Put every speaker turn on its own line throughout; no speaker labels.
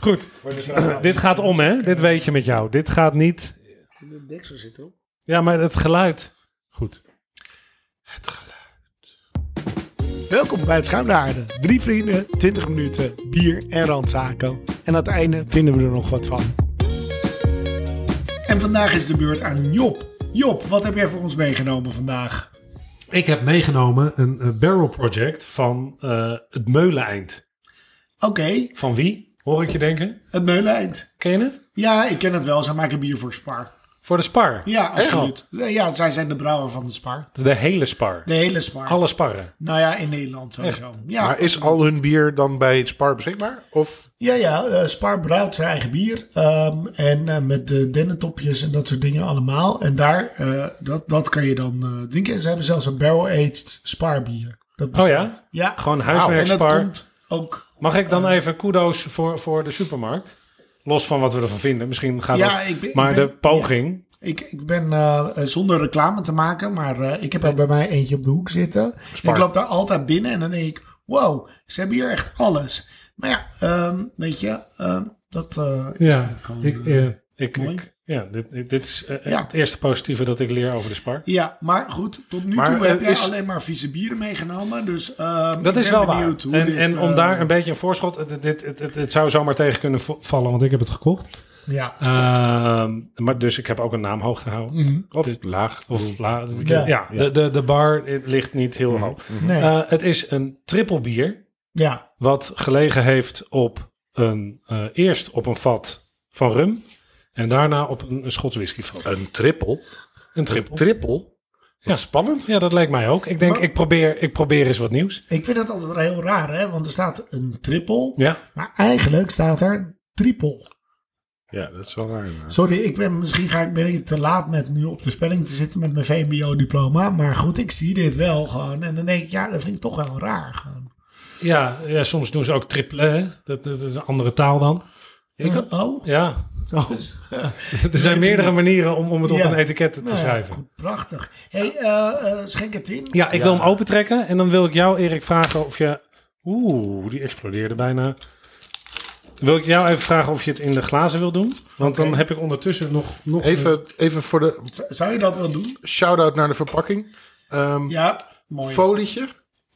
Goed,
Voor de vraag.
dit gaat om, hè? Dit weet je met jou. Dit gaat niet.
De deksel zit erop.
Ja, maar het geluid. Goed.
Welkom bij het Schuim naar Aarde. Drie vrienden, 20 minuten, bier en randzaken. En aan het einde vinden we er nog wat van. En vandaag is de beurt aan Job. Job, wat heb jij voor ons meegenomen vandaag?
Ik heb meegenomen een eh, barrel project van eh, het Meuleneind.
Oké,
Van wie? Hoor ik je denken?
het meuleneind.
Ken je het?
Ja, ik ken het wel. Zij maken bier voor Spar.
Voor de Spar.
Ja, absoluut. Ja, zij zijn de brouwer van de Spar.
De hele Spar.
De hele Spar.
Alle sparren.
Nou ja, in Nederland sowieso. Ja,
Maar is al hun bier dan bij het Spar beschikbaar? Of
Ja, ja, eh, Spaar brouwt zijn eigen bier. ehm, en eh, met de dennentopjes en dat soort dingen allemaal. En daar, eh, dat, dat kan je dan eh, drinken. En ze hebben zelfs een barrel-aged Spaar bier. Dat bestaat.
Oh ja?
Ja.
Gewoon
En
huismerk
dat
Spar.
komt ook...
Mag ik dan even kudo's voor, voor de supermarkt? Los van wat we ervan vinden. Misschien gaat
Ja,
dat-
ik ben- ik
maar
ben-
de poging.
Ik, ik ben eh, eh, zonder reclame te maken, maar eh, ik heb er bij mij eentje op de hoek zitten. En ik loop daar altijd binnen en dan denk ik... Wow, ze hebben hier echt alles. Maar ja, ehm, weet je... ehm, dat eh, is gewoon...
ik,
eh,
eh, ik,
mooi.
ik- ja dit, dit- dit is eh,
Ja.
het eerste positieve dat ik leer over de Spar.
Ja, maar goed, tot nu
Maar,
toe
eh,
heb jij
is-
alleen maar vieze bieren meegenomen. Dus ehm,
Dat
ik
is
ben
wel waar.
benieuwd hoe
En,
dit,
en om
eh,
daar een beetje een voorschot. Het, het, het, het, het zou zomaar tegen kunnen vo- vallen, want ik heb het gekocht.
Ja,
Ehm, maar dus ik heb ook een naam hoog te houden.
of laag?
Of la, ja,
Mhm. Ja. Mhm.
De, de, de bar eh, ligt niet heel hoog.
nee,
Eh, het is een triple bier.
ja,
Wat gelegen heeft op een, eh, eerst op een vat van rum. En daarna op een, een Schots whiskyvat.
Een trippel?
Een triple.
Trippel?
Ja. Spannend. Ja, dat leek mij ook. Ik denk,
Maar-
ik probeer, ik probeer eens wat nieuws.
ik vind het altijd heel raar, hè? Want er staat een triple,
Ja.
maar eigenlijk staat er triple.
Ja, dat is wel raar. inderdaad.
Sorry, ik ben, misschien ga ik, ben ik te laat met nu op de spelling te zitten met mijn VMBO-diploma. Maar goed, ik zie dit wel gewoon. En dan denk ik, ja, dat vind ik toch wel raar. Gewoon.
Ja, ja, soms doen ze ook triple. hè. Dat, dat is een andere taal dan.
Eh, oh,
Ja,
zo.
er zijn meerdere manieren om, om het op
Ja.
een etiket te
Nou ja,
schrijven.
goed, prachtig. hey, eh, eh, schenk het in.
Ja, ik wil hem opentrekken en dan wil ik jou, Erik, vragen of je... Oeh, die explodeerde bijna. Wil ik jou even vragen of je het in de glazen wil doen? Want dan
Oké.
heb ik ondertussen nog... nog
Even, even voor de
Z- Zou je dat wel doen?
shout-out naar de verpakking. Ehm
Ja, mooi.
folietje?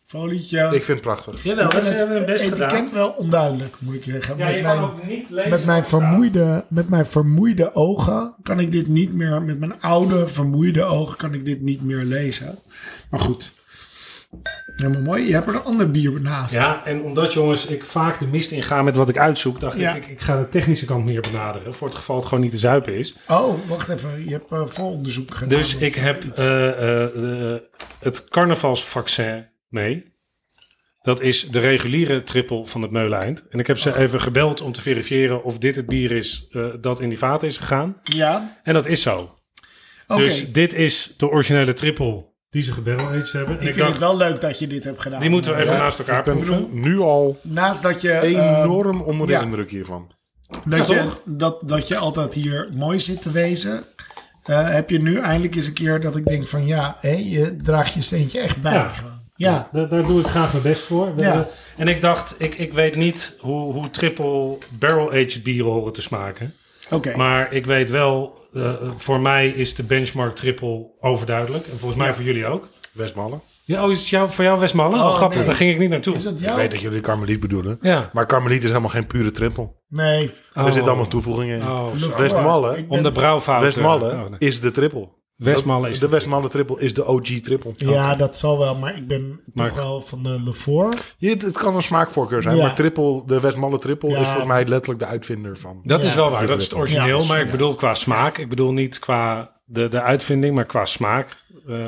Folietje.
Ik vind het prachtig.
Jawel,
Ik
dat
vind
Nou, hebben we
het
het best
etiket
gedaan.
wel onduidelijk, moet ik zeggen.
Ja,
met,
je kan
mijn,
ook niet lezen.
met, mijn vermoeide, met mijn vermoeide ogen kan ik dit niet meer... Met mijn oude vermoeide ogen kan ik dit niet meer lezen. Maar goed. Helemaal mooi. Je hebt er een ander bier naast.
Ja, en omdat jongens, ik vaak de mist inga met wat ik uitzoek, dacht
Ja.
ik, ik, ik ga de technische kant meer benaderen. Voor het geval het gewoon niet te zuipen is.
Oh, wacht even. Je hebt eh, vooronderzoek gedaan.
Dus
of
ik heb
iets.
eh, eh, eh, het carnavalsvaccin mee. Dat is de reguliere trippel van het Meuleind. En ik heb ze
Oh.
even gebeld om te verifiëren of dit het bier is eh, dat in die vaten is gegaan.
ja,
En dat is zo.
oké.
Dus dit is de originele trippel die ze gebarrel aged hebben. En
ik
ik
vind
dacht,
het wel leuk dat je dit hebt gedaan.
die moeten we even
Ja.
naast elkaar
Ik ben
proeven.
nu al
Naast dat je...
Ehm,
eh,
enorm onder de
ja.
indruk hiervan.
Dat,
Ja,
je,
toch?
dat, dat je altijd hier mooi zit te wezen. eh, heb je nu eindelijk eens een keer dat ik denk van ja, hé, je draagt je steentje echt bij.
Ja.
gewoon. ja.
Daar, daar doe ik graag mijn best voor. We-
Ja.
we- En ik dacht, ik, ik weet niet hoe, hoe triple barrel aged bieren horen te smaken.
oké.
Maar ik weet wel, eh, voor mij is de benchmark triple overduidelijk. En volgens mij voor jullie ook.
Westmallen.
Ja, oh, is het jou, voor jou Westmalle? Oh,
Oh,
grappig,
nee.
daar ging ik niet naartoe.
Is dat
Ik
jou?
weet dat jullie Carmeliet bedoelen.
Ja.
Maar Carmeliet is helemaal geen pure trippel.
Nee.
Oh.
Er zitten allemaal toevoegingen in.
Oh,
Look,
Westmalle-
ik ben-
Om de brouwfout.
Westmalle
eh, oh, nee.
is de trippel.
Westmalle is
de
de
Westmalle trippel is de OG trippel.
Ja, dat zal wel, maar ik ben
Maar-
toch wel van de Levoor.
Je- Het kan een smaakvoorkeur zijn,
Ja.
maar triple, de Westmalle trippel
Ja.
is voor mij letterlijk de uitvinder van.
Dat is
Ja,
wel
dat
waar,
zit
dat is het
erin.
origineel.
Ja,
maar ik
precies.
bedoel qua smaak. Ik bedoel niet qua de, de uitvinding, maar qua smaak. eh,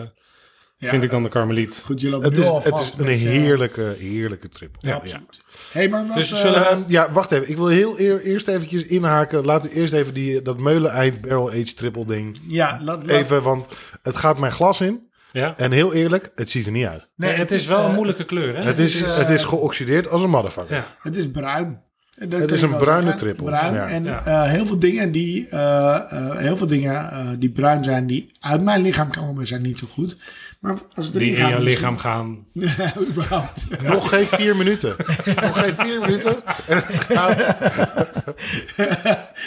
Vind ik dan de Carmeliet.
Goed, jullie hebben
Het
nu
is,
alvast
het is
een
een
beetje-
heerlijke, heerlijke trippel.
Ja, absoluut. hey, maar wat,
eh, Dus
eh,
zullen
Ehm, ja, wacht even. Ik wil heel eer- eerst eventjes inhaken. Laten we eerst even die, dat meuleneind barrel age triple ding.
ja, laat, laat-
Even, want het gaat mijn glas in.
Ja.
En heel eerlijk, het ziet er niet uit.
nee,
het, is wel
eh,
een moeilijke kleur, hè?
Het is, het is geoxideerd als een motherfucker.
eh, Ja.
Het is bruin. En dat
Het
kan
is
ik
een
wel
bruine
zeggen.
trippel.
Bruin.
Ja.
En
Ja.
eh, heel veel dingen, die, eh, eh, heel veel dingen eh, die bruin zijn, die uit mijn lichaam komen, zijn niet zo goed. Maar als het erin
Die in
gaat,
jouw
misschien-
lichaam gaan.
Ja, überhaupt.
Nog geen vier minuten. Nog geen vier minuten. En het gaat-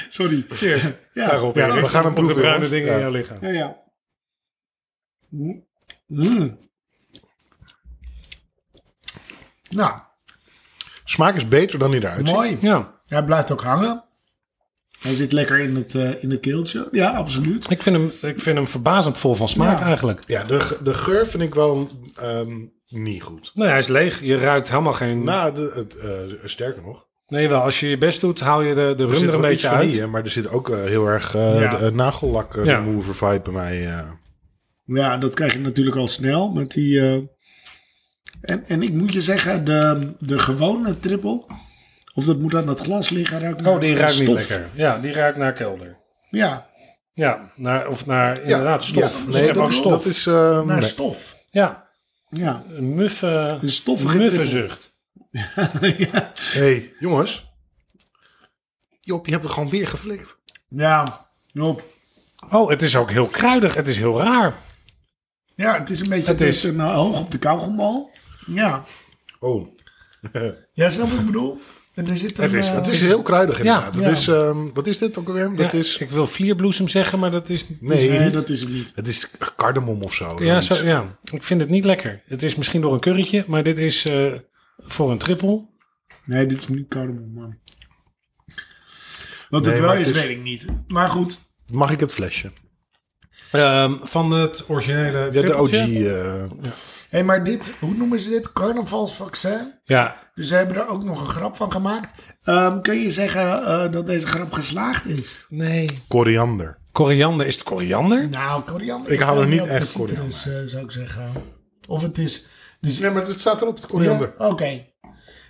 Sorry.
Cheers.
Ja.
Daarop.
Ja,
Erik.
we gaan hem
Op
proeven,
de bruine
jongens.
dingen in
Ja.
jouw lichaam.
Ja, ja. Mm. Nou,
Smaak is beter dan die eruit ziet.
mooi.
Ja,
Hij blijft ook hangen. Hij zit lekker in het, eh, in het keeltje. Ja, absoluut.
ik vind, hem, ik vind hem verbazend vol van smaak
Ja.
eigenlijk.
Ja, de, ge- de geur vind ik wel ehm, niet goed.
Nee, hij is leeg. Je ruikt helemaal geen...
Nou, de, het, eh, sterker nog.
Nee, wel. Als je je best doet, haal je de, de rum er
wel
een
iets
beetje uit.
vanille, maar er zit ook eh, heel erg eh,
Ja.
de, eh, nagellak eh,
Ja. Dus
remover vibe bij mij. eh.
Ja, dat krijg je natuurlijk al snel met die. eh, En, en ik moet je zeggen, de, de gewone trippel. Of dat moet aan dat glas liggen, ruikt naar
Oh, die ruikt niet
stof.
lekker. Ja, die ruikt naar kelder.
Ja,
Ja, naar, of naar inderdaad stof.
Ja,
Ze
nee,
hebben
dat
ook
is,
stof.
dat is
naar
ehm, nee.
stof.
Ja,
Ja,
een muffe,
een stoffige trippel.
muffenzucht.
ja.
hey, jongens. Job, je hebt het gewoon weer geflikt.
ja, Job.
Oh, het is ook heel kruidig. Het is heel raar.
Ja, het is een beetje
Het
het
is-
is... een, eh, hoog op de kauwgombal. Ja.
Oh.
ja, snap wat ik bedoel? En er zit een,
Het is-
eh,
Het is heel kruidig inderdaad.
Ja.
Het
Ja.
is, ehm, wat is dit ook alweer?
Ja,
Dat is,
Ik wil vlierbloesem zeggen, maar dat is...
nee,
Nee,
niet.
dat is het niet.
het is cardamom of zo.
Ja,
zoiets.
zo, ja, ik vind het niet lekker. Het is misschien door een kurretje, maar dit is eh, voor een trippel.
Nee, dit is niet cardamom, man. Wat het
Nee,
wel
maar het
is,
is-
weet ik niet. Maar goed.
Mag ik het flesje?
Ehm, van het originele
Ja, de OG.
trippeltje.
eh,
Hé, maar dit, hoe noemen ze dit? Carnavalsvaccin?
Ja,
Dus ze hebben er ook nog een grap van gemaakt. Ehm, kun je zeggen eh, dat deze grap geslaagd is?
nee.
koriander.
Koriander, is het koriander?
Nou, koriander.
Ik
is
hou
wel
er
meer
niet
op de
echt
citrus, eh, zou ik zeggen. Of het is... Dus,
Nee, maar het staat erop, het
Ja,
koriander.
Oké.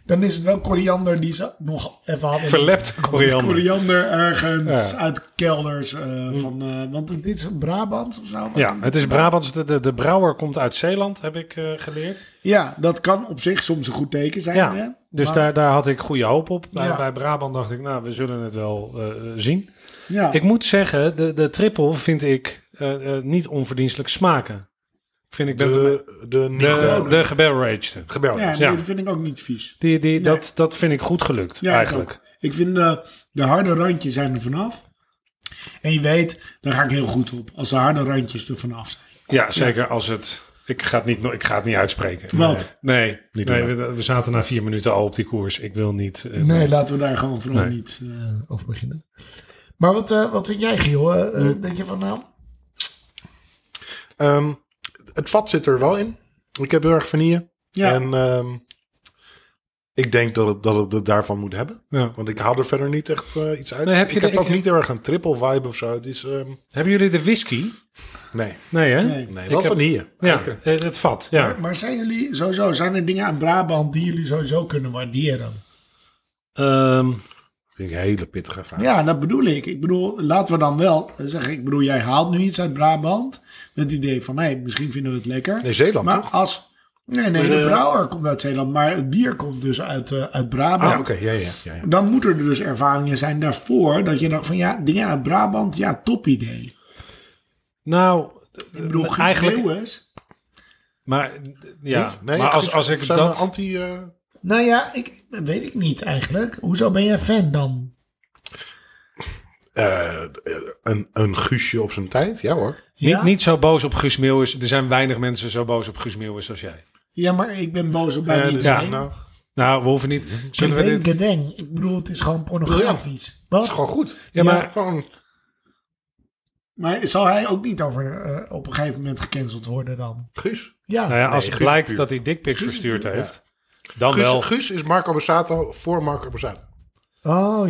Dan is het wel koriander die ze nog even hadden.
Verlepte koriander.
Koriander ergens uit kelders. eh, van, eh, want dit is Brabant of zo.
Ja, het is Brabants. De, de, de brouwer komt uit Zeeland, heb ik eh, geleerd.
Ja, dat kan op zich soms een goed teken zijn. hè?
Ja, dus
Maar-
daar, daar had ik goede hoop op. Bij,
Ja.
bij Brabant dacht ik, nou, we zullen het wel eh, zien.
Ja.
Ik moet zeggen, de, de trippel vind ik eh, eh, niet onverdienstelijk smaken. Vind ik ben het mee-
De, de, niet
de,
gebarrel-
de gebarrel-aged.
gebarrel.
ja,
ja.
dat vind ik ook niet vies.
Die, die, dat, dat vind ik goed gelukt,
Ja,
eigenlijk.
Ik, ook. Ik vind de, de harde randjes zijn er vanaf. En je weet, daar ga ik heel goed op. Als de harde randjes er vanaf zijn.
Ja, zeker als het. Ik ga het niet, ik ga het niet uitspreken.
Wat?
Nee, nee,
Niet doen,
we, we zaten na vier minuten al op die koers. Ik wil niet. eh,
Nee, laten we daar gewoon vooral
Nee.
niet eh, over beginnen. Maar wat, eh, wat vind jij, Giel? Eh, eh, Denk je van nou...
mm. Ehm, het vat zit er wel in. Ik heb heel erg vanille.
Ja.
En ehm, ik denk dat het, dat het het daarvan moet hebben.
Ja.
Want ik haal er verder niet echt eh, iets uit.
Nee, heb je
ik
de-
heb ook
ik-
niet heel erg een triple vibe of zo. Het is, ehm,
Hebben jullie de whisky?
nee,
Nee, hè?
Nee.
nee
Ik
wel
heb-
vanille.
Ja,
Lekker.
eh, het vat. Ja.
Maar zijn jullie sowieso, zijn er dingen aan Brabant die jullie sowieso kunnen waarderen?
Ehm,
Vind ik een hele pittige vraag.
Ja, dat bedoel ik. Ik bedoel, laten we dan wel eh, zeggen, ik bedoel, jij haalt nu iets uit Brabant met het idee van, hé, misschien vinden we het lekker.
Nee, Zeeland,
maar
toch?
als, nee, nee, de
Eh.
brouwer komt uit Zeeland, maar het bier komt dus uit, eh, uit Brabant.
Ah, oké. Ja, ja, ja, ja.
Dan moeten er dus ervaringen zijn daarvoor dat je dacht van, ja, dingen uit Brabant, ja, top idee.
nou,
Ik bedoel, Guus
Eigenlijk-
Meeuwis-
maar. Ja,
Nee,
maar als,
ik-
als ik
zijn we
dat.
Anti, eh,
Nou ja, ik, dat weet ik niet eigenlijk. Hoezo ben jij fan dan?
eh, een, een guusje op zijn tijd, ja hoor.
Ja?
Niet, niet zo boos op Guus Meeuwis. Er zijn weinig mensen zo boos op Guus Meeuwis als jij.
Ja, maar ik ben boos op bijna
Eh, dus
iedereen.
nou,
Nou, we hoeven niet. Zullen we
Gedeng,
dit.
gedeng. Ik bedoel, het is gewoon pornografisch.
dat is
Wat?
gewoon goed.
Ja, maar-
gewoon
Maar zal hij ook niet over, eh, op een gegeven moment gecanceld worden dan?
Guus.
Ja.
Nou ja, als
Nee,
het
Guus
blijkt
puur.
dat hij dickpics verstuurd heeft, dan
Guus,
wel.
Guus is Marco Borsato voor Marco Borsato.
Oh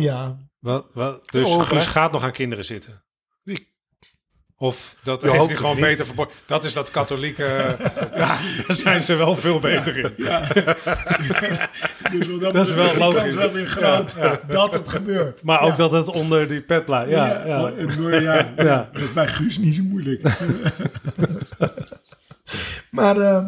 ja.
Wat, wat? Dus
Oh,
Guus
oprecht.
gaat nog aan kinderen zitten.
Die-
Of dat
hoopt
heeft hij
het
gewoon
niet.
beter verborgen. Dat is dat katholieke. ja, daar zijn ze wel veel beter in.
Dus wat
Dat is wel
betreft de
logisch.
kans wel weer groot dat het gebeurt.
Maar ook
Ja.
dat het onder die pet blijft. Ja, ja,
Ja, het door- ja.
Ja.
Dat is bij Guus niet zo moeilijk. maar eh,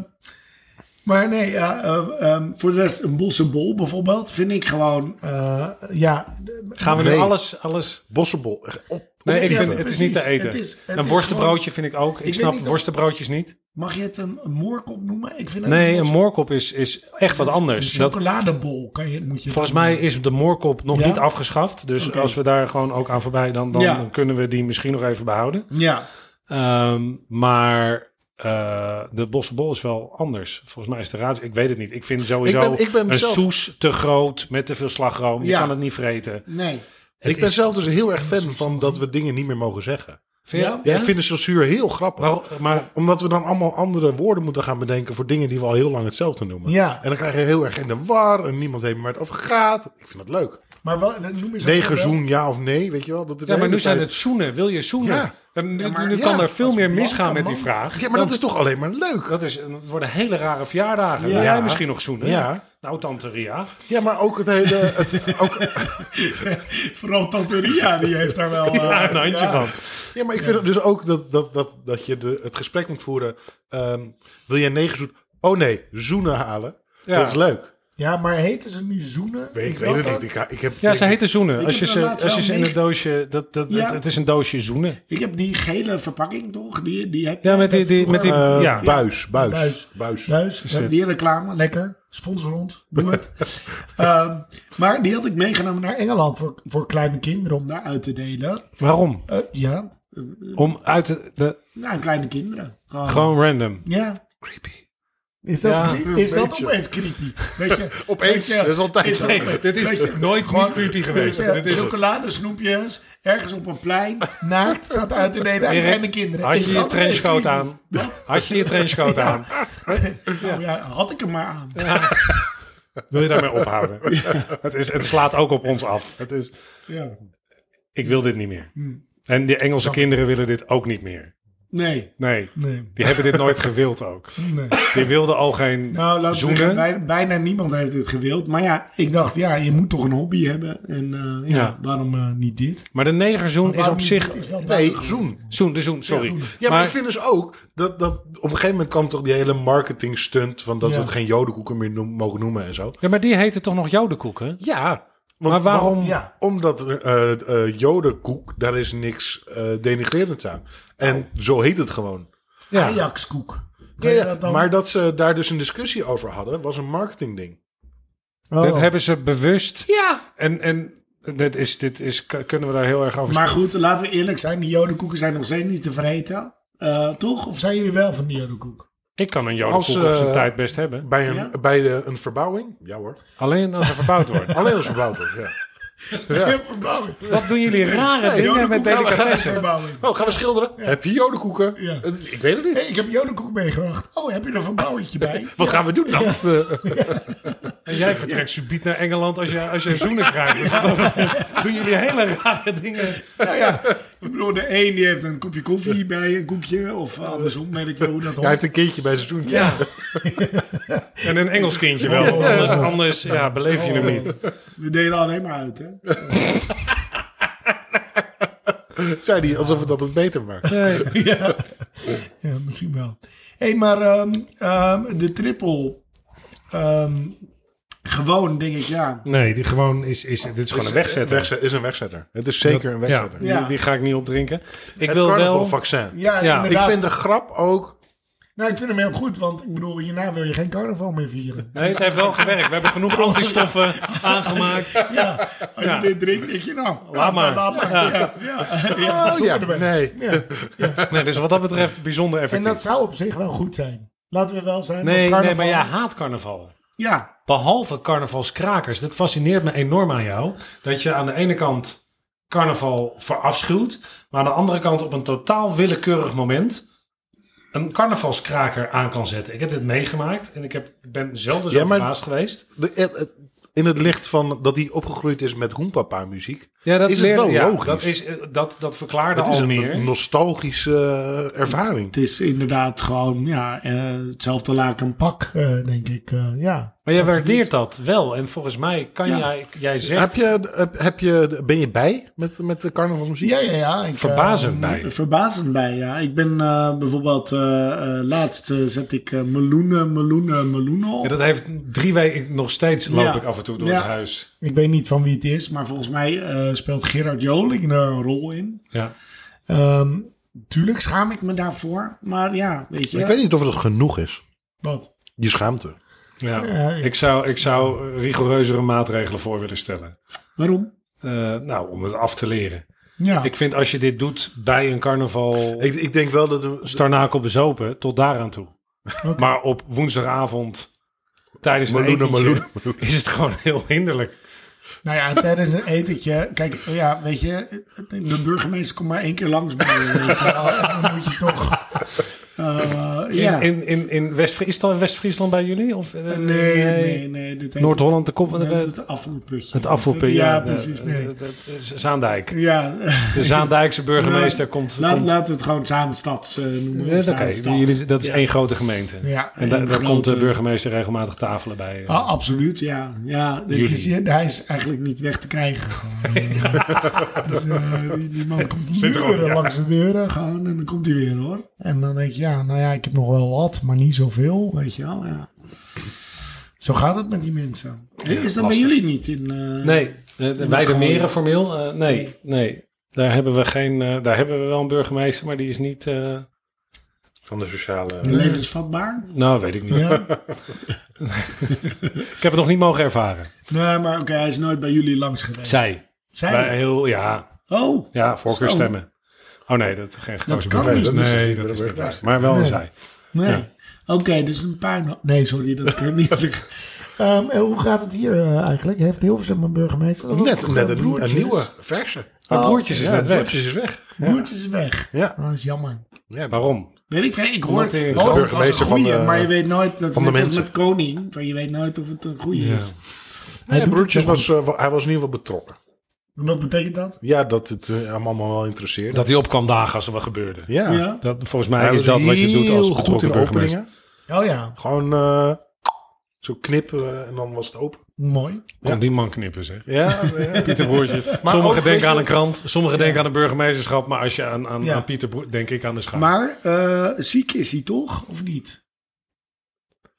Maar nee, ja, eh, ehm, voor de rest een bosse bol bijvoorbeeld vind ik gewoon, eh, ja...
Gaan we nu
Nee.
alles, alles...
Bossenbol. echt Op.
Nee, ik
Ja,
vind, het is niet te
precies.
eten.
Het is- het
een
is
worstenbroodje vind ik ook. Ik,
weet
snap
niet of-
worstenbroodjes niet.
Mag je het een, een moorkop noemen? Ik vind het
Nee, een
bos-
moorkop is, is echt wat
een
anders. Dat,
chocoladebol kan je, moet je
volgens mij is de moorkop nog
Ja?
niet afgeschaft. Dus
Oké.
als we daar gewoon ook aan voorbij, dan, dan,
Ja.
dan kunnen we die misschien nog even behouden.
Ja,
Ehm, maar eh, de bossenbol is wel anders. Volgens mij is de raad. Ik weet het niet. Ik vind sowieso
Ik ben- ik ben
een
zelf-
soes te groot met te veel slagroom. Je
Ja.
kan het niet vreten.
nee.
Het
ik ben
is-
zelf dus heel erg fan van dat we dingen niet meer mogen zeggen.
Vind je-
Ja?
Ja, ik vind de censuur heel grappig.
Waarom- maar
Omdat we dan allemaal andere woorden moeten gaan bedenken voor dingen die we al heel lang hetzelfde noemen.
Ja.
En dan krijg je heel erg in de war en niemand weet meer waar het over gaat. Ik vind dat leuk.
Maar wel, eh, noem eens een
Negen
voorbeeld.
zoen, ja of nee, weet je wel. Dat is
Ja,
de
maar
hele
nu zijn
tijd-
het zoenen. Wil je zoenen?
Ja.
En nu
Ja, maar-
nu
ja,
kan er veel
als
meer
blanke
misgaan met
man-
die vraag.
Ja, maar dat is toch alleen maar leuk.
Dat is, eh, het worden hele rare verjaardagen. Wil
Ja.
jij misschien nog zoenen?
Ja.
Nou, tante Ria.
Ja, maar ook het hele... Het, ook,
Vooral Tante Ria, die heeft daar wel... eh,
Daar een handje van.
ja.
ja, maar ik vind het dus ook dat, dat, dat, dat je de, het gesprek moet voeren. ehm, wil jij negen zoen? Oh nee, zoenen halen.
Ja.
Dat is leuk.
Ja, maar heten ze nu zoenen?
Weet,
Is
ik weet het
dat
niet. Ik, ik heb,
Ja, ze heten zoenen.
Ik
Als je
heb
ze,
daar laatst
als je
wel
ze in
mee-
een doosje... Dat, dat,
Ja.
het, het is een doosje zoenen.
Ik heb die gele verpakking toch? Die, die heb
Ja,
je
met die-
net
die- met die-
vroeger-
eh,
ja.
Buis, buis, buis.
Buis. Buis, we hebben weer reclame, lekker. Sponsor ons, doe het. Ehm, maar die had ik meegenomen naar Engeland voor, voor kleine kinderen om daar uit te delen.
Waarom?
Eh, ja,
Om uit de... de-
nou, kleine kinderen. Gewoon.
gewoon random.
Ja.
Creepy.
Is dat,
Ja,
cre-
een
is dat
beetje.
opeens creepy? Weet je,
Opeens,
weet je,
dat is altijd zo.
Dit is
weet je,
nooit
gewoon-
niet creepy geweest.
weet je,
Dit is-
chocoladesnoepjes, ergens op een plein, naakt, staat uit te delen aan
Erik,
kleine kinderen.
Had
Is
je je
dat opeens
trenchcoat
creepy?
aan? Had je je trenchcoat aan?
Nou ja, had ik hem maar aan.
Wil je daarmee ophouden? Het, is, het slaat ook op ons af. Het is...
Ja.
ik wil dit niet meer. En die Engelse kinderen willen dit ook niet meer.
Nee,
Nee,
nee,
die hebben dit nooit gewild ook.
nee.
Die wilden al geen
Nou, laat
zoenen.
zeggen, bij- bijna niemand heeft dit gewild. Maar ja, ik dacht, ja, je moet toch een hobby hebben. En eh, ja,
Ja.
waarom eh, niet dit?
Maar de negerzoen is
Waarom
op
niet
zich...
dit is wel
Nee,
duidelijk.
zoen.
Zoen, de zoen, sorry.
Ja, maar,
maar,
ik vind dus ook dat, dat op een gegeven moment kwam toch die hele marketing stunt van dat
Ja.
we het geen jodenkoeken meer noem- mogen noemen en zo.
ja, maar die heten toch nog jodenkoeken?
Ja,
Maar waarom...
wa-
Ja.
omdat er, eh, eh, jodenkoek, daar is niks eh denigrerends aan. En zo heet het gewoon.
Ja.
Ah, Ajax-koek.
Ja,
Kan je
ja,
dat dan-
Maar dat ze daar dus een discussie over hadden, was een marketingding.
Oh.
Dat hebben ze bewust.
Ja.
En, en dit is, dit is, k- kunnen we daar heel erg over
Maar goed, laten we eerlijk zijn. Die jodenkoeken zijn nog steeds niet te vreten. Eh, toch? Of zijn jullie wel van die jodenkoek?
Ik kan een jodenkoek
Als, eh,
op zijn tijd best hebben.
Bij, een,
Ja.
bij de, een verbouwing? Ja hoor.
Alleen als er verbouwd wordt.
Alleen als verbouwd wordt, ja.
Ja. Verbouwing.
Wat doen jullie rare dingen met
Jodenkoek gaan we
delicatessen?
verbouwing.
Oh, gaan we schilderen? Heb je jodenkoeken?
Ja.
Het is- Ik weet het niet.
Hey, ik heb jodenkoek meegebracht. Oh, heb je er een verbouwingje bij?
Wat gaan we doen dan?
En jij vertrekt subiet naar Engeland als je, als je zoenen krijgt. Dus wat- doen jullie hele rare dingen.
Nou ja, ik bedoel, de een die heeft een kopje koffie bij een koekje. Of andersom, weet ik wel hoe dat hoort.
Hij heeft een kindje bij zijn zoen.
Ja. En een Engels kindje wel. want Anders, anders ja, beleef je hem
Oh.
niet.
We delen alleen maar uit, hè?
Zei hij alsof het dat het beter maakt.
ja. ja, misschien wel. Hé, hey, maar ehm, ehm, de triple. ehm, gewoon, denk ik, ja.
Nee, die gewoon is, is, dit is gewoon een wegzetter.
Wegze- is een wegzetter. Het is zeker een
Ja,
wegzetter.
die,
Ja.
die ga ik niet opdrinken. Ik
Het
wil wel...
carnavalvaccin.
Ja,
Ja,
Ik
inderdaad.
vind de grap ook...
Nou, ik vind hem heel goed, want ik bedoel, hierna wil je geen carnaval meer vieren.
Nee, het heeft wel gewerkt. We hebben
Oh,
genoeg antistoffen aangemaakt.
Ja, als
Ja.
je dit drinkt, denk je nou. nou,
Laat maar.
Laat maar. Ja. Ja. Ja,
Oh,
stop
ja,
erbij.
nee.
Ja.
Nee, dus wat dat betreft bijzonder
En
effectief.
dat zou op zich wel goed zijn. Laten we wel zijn.
nee,
dat
nee,
carnaval-
maar jij haat carnaval.
Ja,
Behalve carnavalskrakers. Dat fascineert me enorm aan jou. Dat je aan de ene kant carnaval verafschuwt. Maar aan de andere kant op een totaal willekeurig moment... een carnavalskraker aan kan zetten. Ik heb dit meegemaakt. En ik heb, ik ben zelden zo
Ja, maar-
verbaasd geweest.
De- het- het- in het licht van dat hij opgegroeid is met hoenpapa muziek.
Ja, dat
is het
leerde-
wel
ja,
logisch.
Dat, is, eh, dat, dat verklaarde
Het is
al
een
meer.
nostalgische eh, ervaring.
Het is inderdaad gewoon ja, eh, hetzelfde laken pak, eh, denk ik. eh, ja.
maar jij waardeert dat wel. En volgens mij kan
Ja.
jij, jij zegt...
Heb je, heb- heb je, ben je bij met, met de carnavalsmuziek?
Ja, ja, ja. Ik,
Verbazend
eh,
bij.
Verbazend bij, ja. Ik ben eh, bijvoorbeeld, eh, eh, laatst eh, zet ik eh, meloenen, meloenen, meloenen op.
Ja, dat heeft drie weken nog steeds loop
Ja.
ik af en toe door
Ja.
het huis.
Ik weet niet van wie het is, maar volgens mij eh, speelt Gerard Joling daar een rol in.
Ja.
Ehm, tuurlijk schaam ik me daarvoor, maar ja, weet je.
Ik weet niet of het genoeg is.
Wat?
Je schaamte.
Ja.
Ja, ja.
Ik, zou, ik zou rigoureuzere maatregelen voor willen stellen.
Waarom?
Eh, nou, om het af te leren.
Ja.
Ik vind als je dit doet bij een carnaval...
Ik, ik denk wel dat... we-
Starnakel bezopen, tot daaraan toe. Maar op woensdagavond tijdens een
Meloenen,
etentje
meloenen, meloenen.
is het gewoon heel hinderlijk.
Nou ja, tijdens een etentje. Kijk, ja, weet je, de burgemeester komt maar één keer langs bij je, weet je wel. En dan moet je toch. eh, ja.
In, in, in West, is het al in West-Friesland bij jullie? Of, eh,
nee, nee, nee. Dit heet
Noord-Holland, de kop,
het,
eh,
het afvoerputje.
het afvoerpunt.
Ja,
eh,
precies. Nee.
eh, dat is Zaandijk.
Ja,
De Zaandijkse burgemeester
Nou,
komt...
laat,
komt
laten we het gewoon Zaanstad eh, noemen.
Ja,
of
oké,
Zaanstad.
jullie- dat is
Ja.
één grote gemeente.
Ja,
en da-
één
daar komt de
grote-
burgemeester regelmatig tafelen bij. eh.
Ah, absoluut, ja. ja dit
Jullie.
is, hij is eigenlijk niet weg te krijgen. gewoon. Het is, eh, die, die man komt
Zit er al,
deuren
ja.
langs de deuren gewoon en dan komt hij weer hoor. En dan denk je, ja, nou ja, ik heb nog wel wat, maar niet zoveel, weet je wel. Ja. Zo gaat het met die mensen. is dat bij
lastig.
jullie niet? In, eh,
Nee, de, de Weide
gewoon-
Meren formeel. eh, nee, nee. Daar hebben we geen. eh, daar hebben we wel een burgemeester, maar die is niet. eh,
Van de sociale...
Levensvatbaar?
nou, weet ik niet.
Ja.
Ik heb het nog niet mogen ervaren.
Nee, maar oké, hij is nooit bij jullie langs geweest.
Zij.
Zij?
Wij heel, ja,
Oh,
ja, voorkeurstemmen. Oh nee, dat geen gekozen
kan
burgemeester.
dus niet.
Nee, dat is niet waar. Maar wel een zij.
nee. Oké, dus een paar... Nee, sorry, dat kan niet. Ehm, en hoe gaat het hier eh, eigenlijk? Heeft Hilversum een burgemeester? Dat was
Net,
toch,
net
eh,
een,
Broertjes?
een nieuwe, verse.
Maar broertjes is
Ja,
net
het
weg.
broertjes is weg.
Broertjes is weg.
Ja.
Ah, dat is jammer.
Ja,
Waarom?
Weet ik, veel, ik hoor,
Omdat hij een
oh, dat was een
burgemeester van
goeie,
de-
maar je weet nooit, dat is
van de
net zoals
mensen.
met koning, maar je weet nooit of het een goeie
Ja.
is. Hij
Nee,
doet
broertjes
het wel
was,
goed.
eh, wel- hij was in ieder geval betrokken.
Wat betekent dat?
Ja, dat het eh, hem allemaal wel interesseerde.
Dat hij op kwam dagen als er wat gebeurde.
ja.
Ja.
Dat, volgens mij
Hij
is
was
dat wat je doet
heel
als
goed
betrokken
in de
burgemeester.
openingen.
Oh ja,
Gewoon eh, zo knippen eh, en dan was het open.
mooi.
Kon die man knippen, zeg.
Ja, ja.
Pieter Broertje. sommigen
ook, weet
denken
je-
aan een krant, sommigen denken aan een burgemeesterschap. Maar als je aan, aan,
Ja.
aan Pieter Broer, denk ik aan de schaar.
Maar eh, ziek is hij toch, of niet?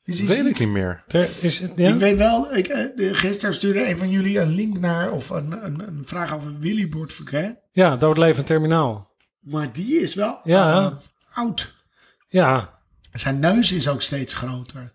Is hij
weet
ziek?
ik niet meer.
Ter- is het, ja?
Ik weet wel, ik, eh, de- gisteren stuurde een van jullie een link naar, of een, een, een vraag over Willy Bortverkijn.
ja, doodlevend terminaal.
Maar die is wel
Ja.
eh, oud.
Ja,
Zijn neus is ook steeds groter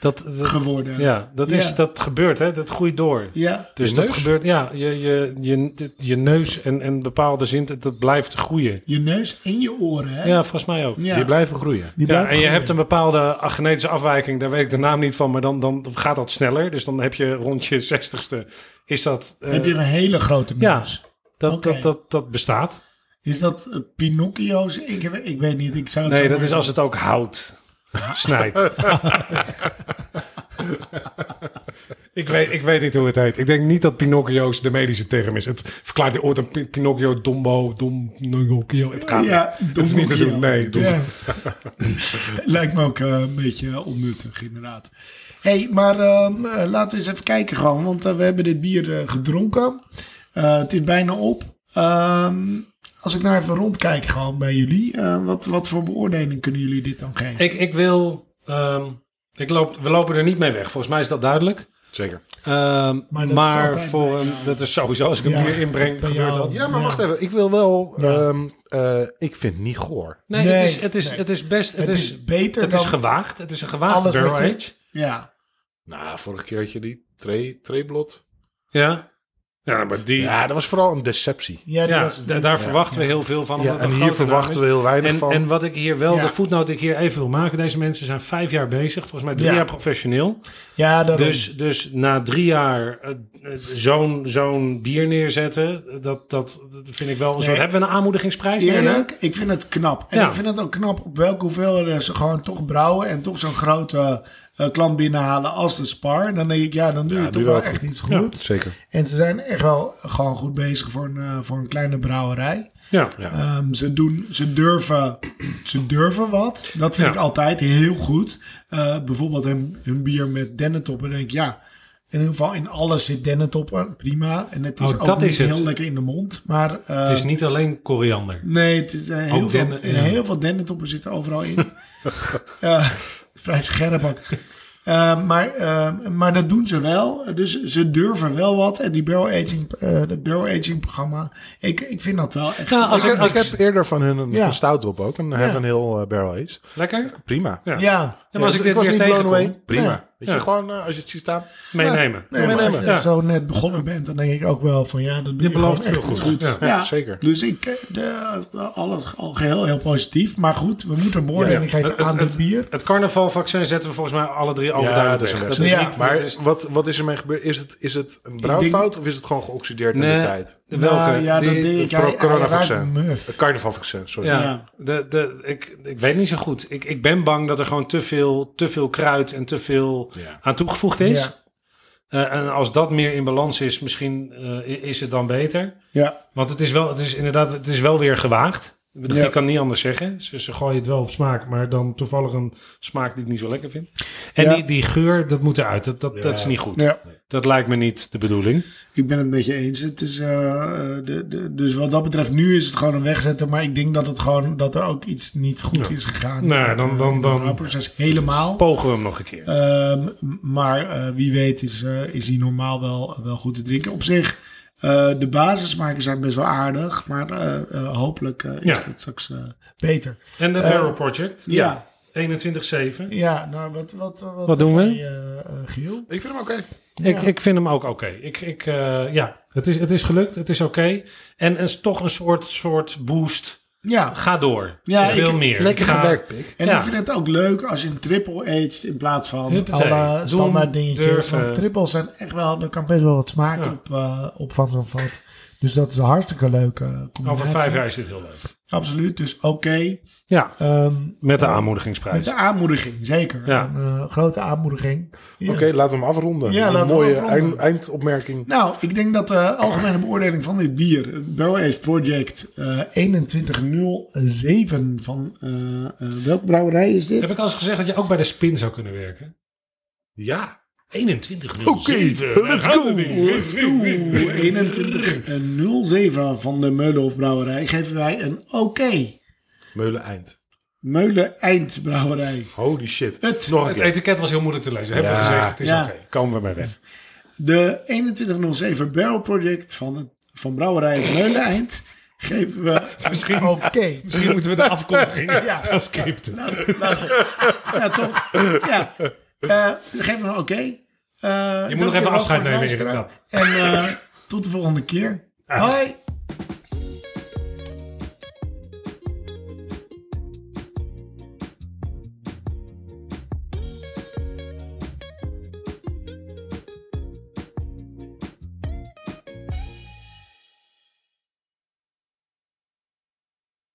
dat, dat,
geworden.
ja, dat, is,
Ja.
dat gebeurt, hè? dat groeit door.
Ja.
Dus
Je
dat
neus?
gebeurt, ja, je, je, je, je neus en, en bepaalde zin, dat, dat blijft groeien.
Je neus en je oren, hè?
Ja, volgens mij ook.
Ja.
Die blijven groeien.
Ja,
Die blijven
en je
groeien.
hebt een bepaalde ah, genetische afwijking, daar weet ik de naam niet van, maar dan, dan gaat dat sneller. Dus dan heb je rond je zestigste, is dat... eh,
heb je een hele grote
ja.
neus.
dat,
Oké.
dat, dat, dat bestaat.
Is dat eh, Pinocchio's? Ik, heb- ik weet niet. Ik zou het
Nee,
zo
dat is
maar-
als het ook hout snijdt. ik, weet, ik weet niet hoe het heet. Ik denk niet dat Pinocchio's de medische term is. Het verklaart je ooit een Pin- Pinocchio, Dombo, Dom, Pinocchio. Het gaat
Ja,
niet. Het is niet te doen.
Pinocchio.
Nee, Dom-
Ja. Lijkt me ook eh, een beetje onnuttig, inderdaad. hey, maar ehm, eh, laten we eens even kijken gewoon. Want eh, we hebben dit bier eh, gedronken. Eh, het is bijna op. Ehm, als ik nou even rondkijk gewoon bij jullie. eh, wat, wat voor beoordeling kunnen jullie dit dan geven?
Ik, ik wil... ehm, ik loop, we lopen er niet mee weg. Volgens mij is dat duidelijk.
Zeker.
Ehm,
Maar
maar
dat is altijd
voor
bij
een,
jou.
dat is sowieso, als ik een
Ja,
bier inbreng,
bij
gebeurt
jou.
dat.
Ja, maar
Ja.
wacht even. Ik wil wel...
Ja.
ehm, eh, ik vind het niet goor.
Nee,
Nee,
het, is, het, is,
nee.
het is best... Het,
Het
is,
is beter
het
dan
is gewaagd. Het is een gewaagde
alles wat
barrel
je-
age.
Ja.
Nou, vorige keer had je die tre- treeblot.
Ja. Ja, maar die, ja,
Ja, dat was vooral een deceptie.
Ja, die was-
da- daar verwachten we heel veel van.
Ja,
omdat het
en
een
hier
grote naam
verwachten
is.
we heel weinig
en,
van.
En wat ik hier wel,
Ja.
de voetnoot die ik hier even wil maken. Deze mensen zijn vijf jaar bezig. Volgens mij drie
Ja.
jaar professioneel.
ja, daarom.
Dus, dus na drie jaar eh, eh, zo'n zo'n bier neerzetten, dat, dat, dat vind ik wel een soort...
Nee.
Hebben we een aanmoedigingsprijs?
Eerlijk, ik vind het knap. En
Ja.
ik vind het ook knap op welke hoeveelheden ze gewoon toch brouwen en toch zo'n grote eh, klant binnenhalen als de Spar. Dan denk ik, ja, dan doe je
doe
toch
je
wel
wel
echt
goed.
iets goed.
zeker.
En ze zijn echt wel gewoon goed bezig voor een, eh, voor een kleine brouwerij.
Ja.
Ehm, ze, doen, ze, durven, ze durven wat. Dat vind
Ja.
ik altijd heel goed. Eh, bijvoorbeeld hun, hun bier met dennentoppen. Dan denk ik, ja, in ieder geval in alles zit dennentoppen. Prima. En het is
Oh,
ook
dat
niet
is het.
heel lekker in de mond. Maar eh,
Het is niet alleen koriander.
nee, het is, eh, heel,
Ook
veel,
dennen,
en
ja.
heel veel dennentoppen zitten overal in. Eh, vrij scherp ook. Eh, maar, eh, maar dat doen ze wel. Dus ze durven wel wat. En die barrel aging, eh dat barrel aging programma. Ik, ik vind dat wel echt...
Ja, als
Ik heb,
ik- als
ik heb eerder van hun een,
Ja.
een stout op ook. En hebben een heel eh, barrel aged.
Lekker?
Prima.
Ja.
ja.
Ja, maar als
Ja,
ik dit
was
weer
niet blown
tegenkom,
away. Prima.
Nee.
Weet je,
Ja.
gewoon eh, als je het ziet staan.
meenemen.
Nee, maar als je
Ja.
zo net begonnen bent, dan denk ik ook wel van ja, dan doe je,
Je belooft
gewoon echt
veel
iets
goed.
goed.
Ja,
ja, zeker.
Dus ik, eh, de, alles al geheel heel positief. Maar goed, we moeten
Ja,
beoordeling
ja.
geven
Het-
aan
het-
dit bier.
Het carnavalvaccin zetten we volgens mij alle drie overduidelijk
dat is
weg.
een
Dat is
wedstrijd.
niet,
Ja.
Maar wat, wat is er mee gebeurd? Is het, is het een brouwfout of is het gewoon geoxideerd in de
Nee,
tijd?
welke?
Nou, ja, dat
Die-
deed ik.
Voor
Hij, hij raakt
coronavaccin.
muf.
Het carnavalvaccin, sorry.
Ja,
Ja.
De, de, ik, ik weet niet zo goed. Ik, ik ben bang dat er gewoon te veel, te veel kruid en te veel
Ja.
aan toegevoegd is.
Ja.
Eh, en als dat meer in balans is, misschien eh, is het dan beter.
Ja,
Want het is wel, het is inderdaad, het is wel weer gewaagd. Ik bedoel,
Ja.
Ik kan niet anders zeggen. Ze, ze gooien het wel op smaak, maar dan toevallig een smaak die ik niet zo lekker vind. En
Ja.
die, die geur, dat moet eruit. Dat, dat, dat is niet goed.
ja.
Dat lijkt me niet de bedoeling.
Ik ben het met je eens. Het is, eh, eh, de, de, dus wat dat betreft, nu is het gewoon een wegzetten. Maar ik denk dat, het gewoon, dat er ook iets niet goed is gegaan.
Nou,
Met,
dan-
eh,
dan-
het
dan-
brouwproces helemaal.
Pogen we hem nog een keer.
Ehm, m- maar eh, wie weet is, eh, is die normaal wel, wel goed te drinken. Op zich, eh, de basismaken zijn best wel aardig. Maar eh, eh, hopelijk eh, is
Ja.
het straks eh, beter.
en de Barrel Project,
Eh, Ja,
21-7.
ja. nou wat, wat, wat,
Wat doen we?
eh, eh, Giel?
Ik vind hem oké.
Ik, ik vind hem ook oké. Ik, ik, eh, ja, het is, het is gelukt. Het is oké. En het is toch een soort, soort boost.
Ja,
Ga door.
Ja,
ik wil
ik-
meer.
Lekker
Ik ga-
gewerkt, Pik.
En
Ja.
ik vind het ook leuk als je een triple aged in plaats van
Huppatee.
alle
Doen,
standaard dingetjes.
durven.
Want trippels zijn echt wel, er kan best wel wat smaak
Ja.
op, eh, op van zo'n vat. Dus dat is een hartstikke leuke combinatie.
Over vijf jaar is dit heel leuk.
Absoluut, dus oké.
Ja,
Ehm,
met de aanmoedigingsprijs.
met de aanmoediging, zeker.
Ja.
Een eh, grote aanmoediging. Ja.
Oké, laten we hem afronden.
Ja,
een
laten we
mooie
hem afronden.
eind- eindopmerking.
Nou, ik denk dat de algemene beoordeling van dit bier, het Barrel Age Project eh 2107 van eh eh, welke brouwerij is dit?
Heb ik al eens gezegd dat je ook bij de spin zou kunnen werken?
Ja.
21
Oké, let's go.
Let's go. 2107 van de Meulenhof Brouwerij geven wij een oké.
Meulen eind.
Meulen Eindbrouwerij.
Holy shit.
Het-
Nog een
Het
keer.
etiket was heel moeilijk te lezen. Hebben we
Ja.
gezegd, het is
Ja.
oké. Komen we mee weg.
De 2107 Barrel Project van, het, van Brouwerij Meulen Eind geven we
Misschien-
oké.
Misschien moeten we de afkondiging
Ja.
gaan scripten.
Ja, toch? Ja. Eh, geef hem een oké. Eh, dank
nog even
wel
afscheid
voor het
nemen, Ah.
luisteren. En eh, tot de volgende keer. Hoi!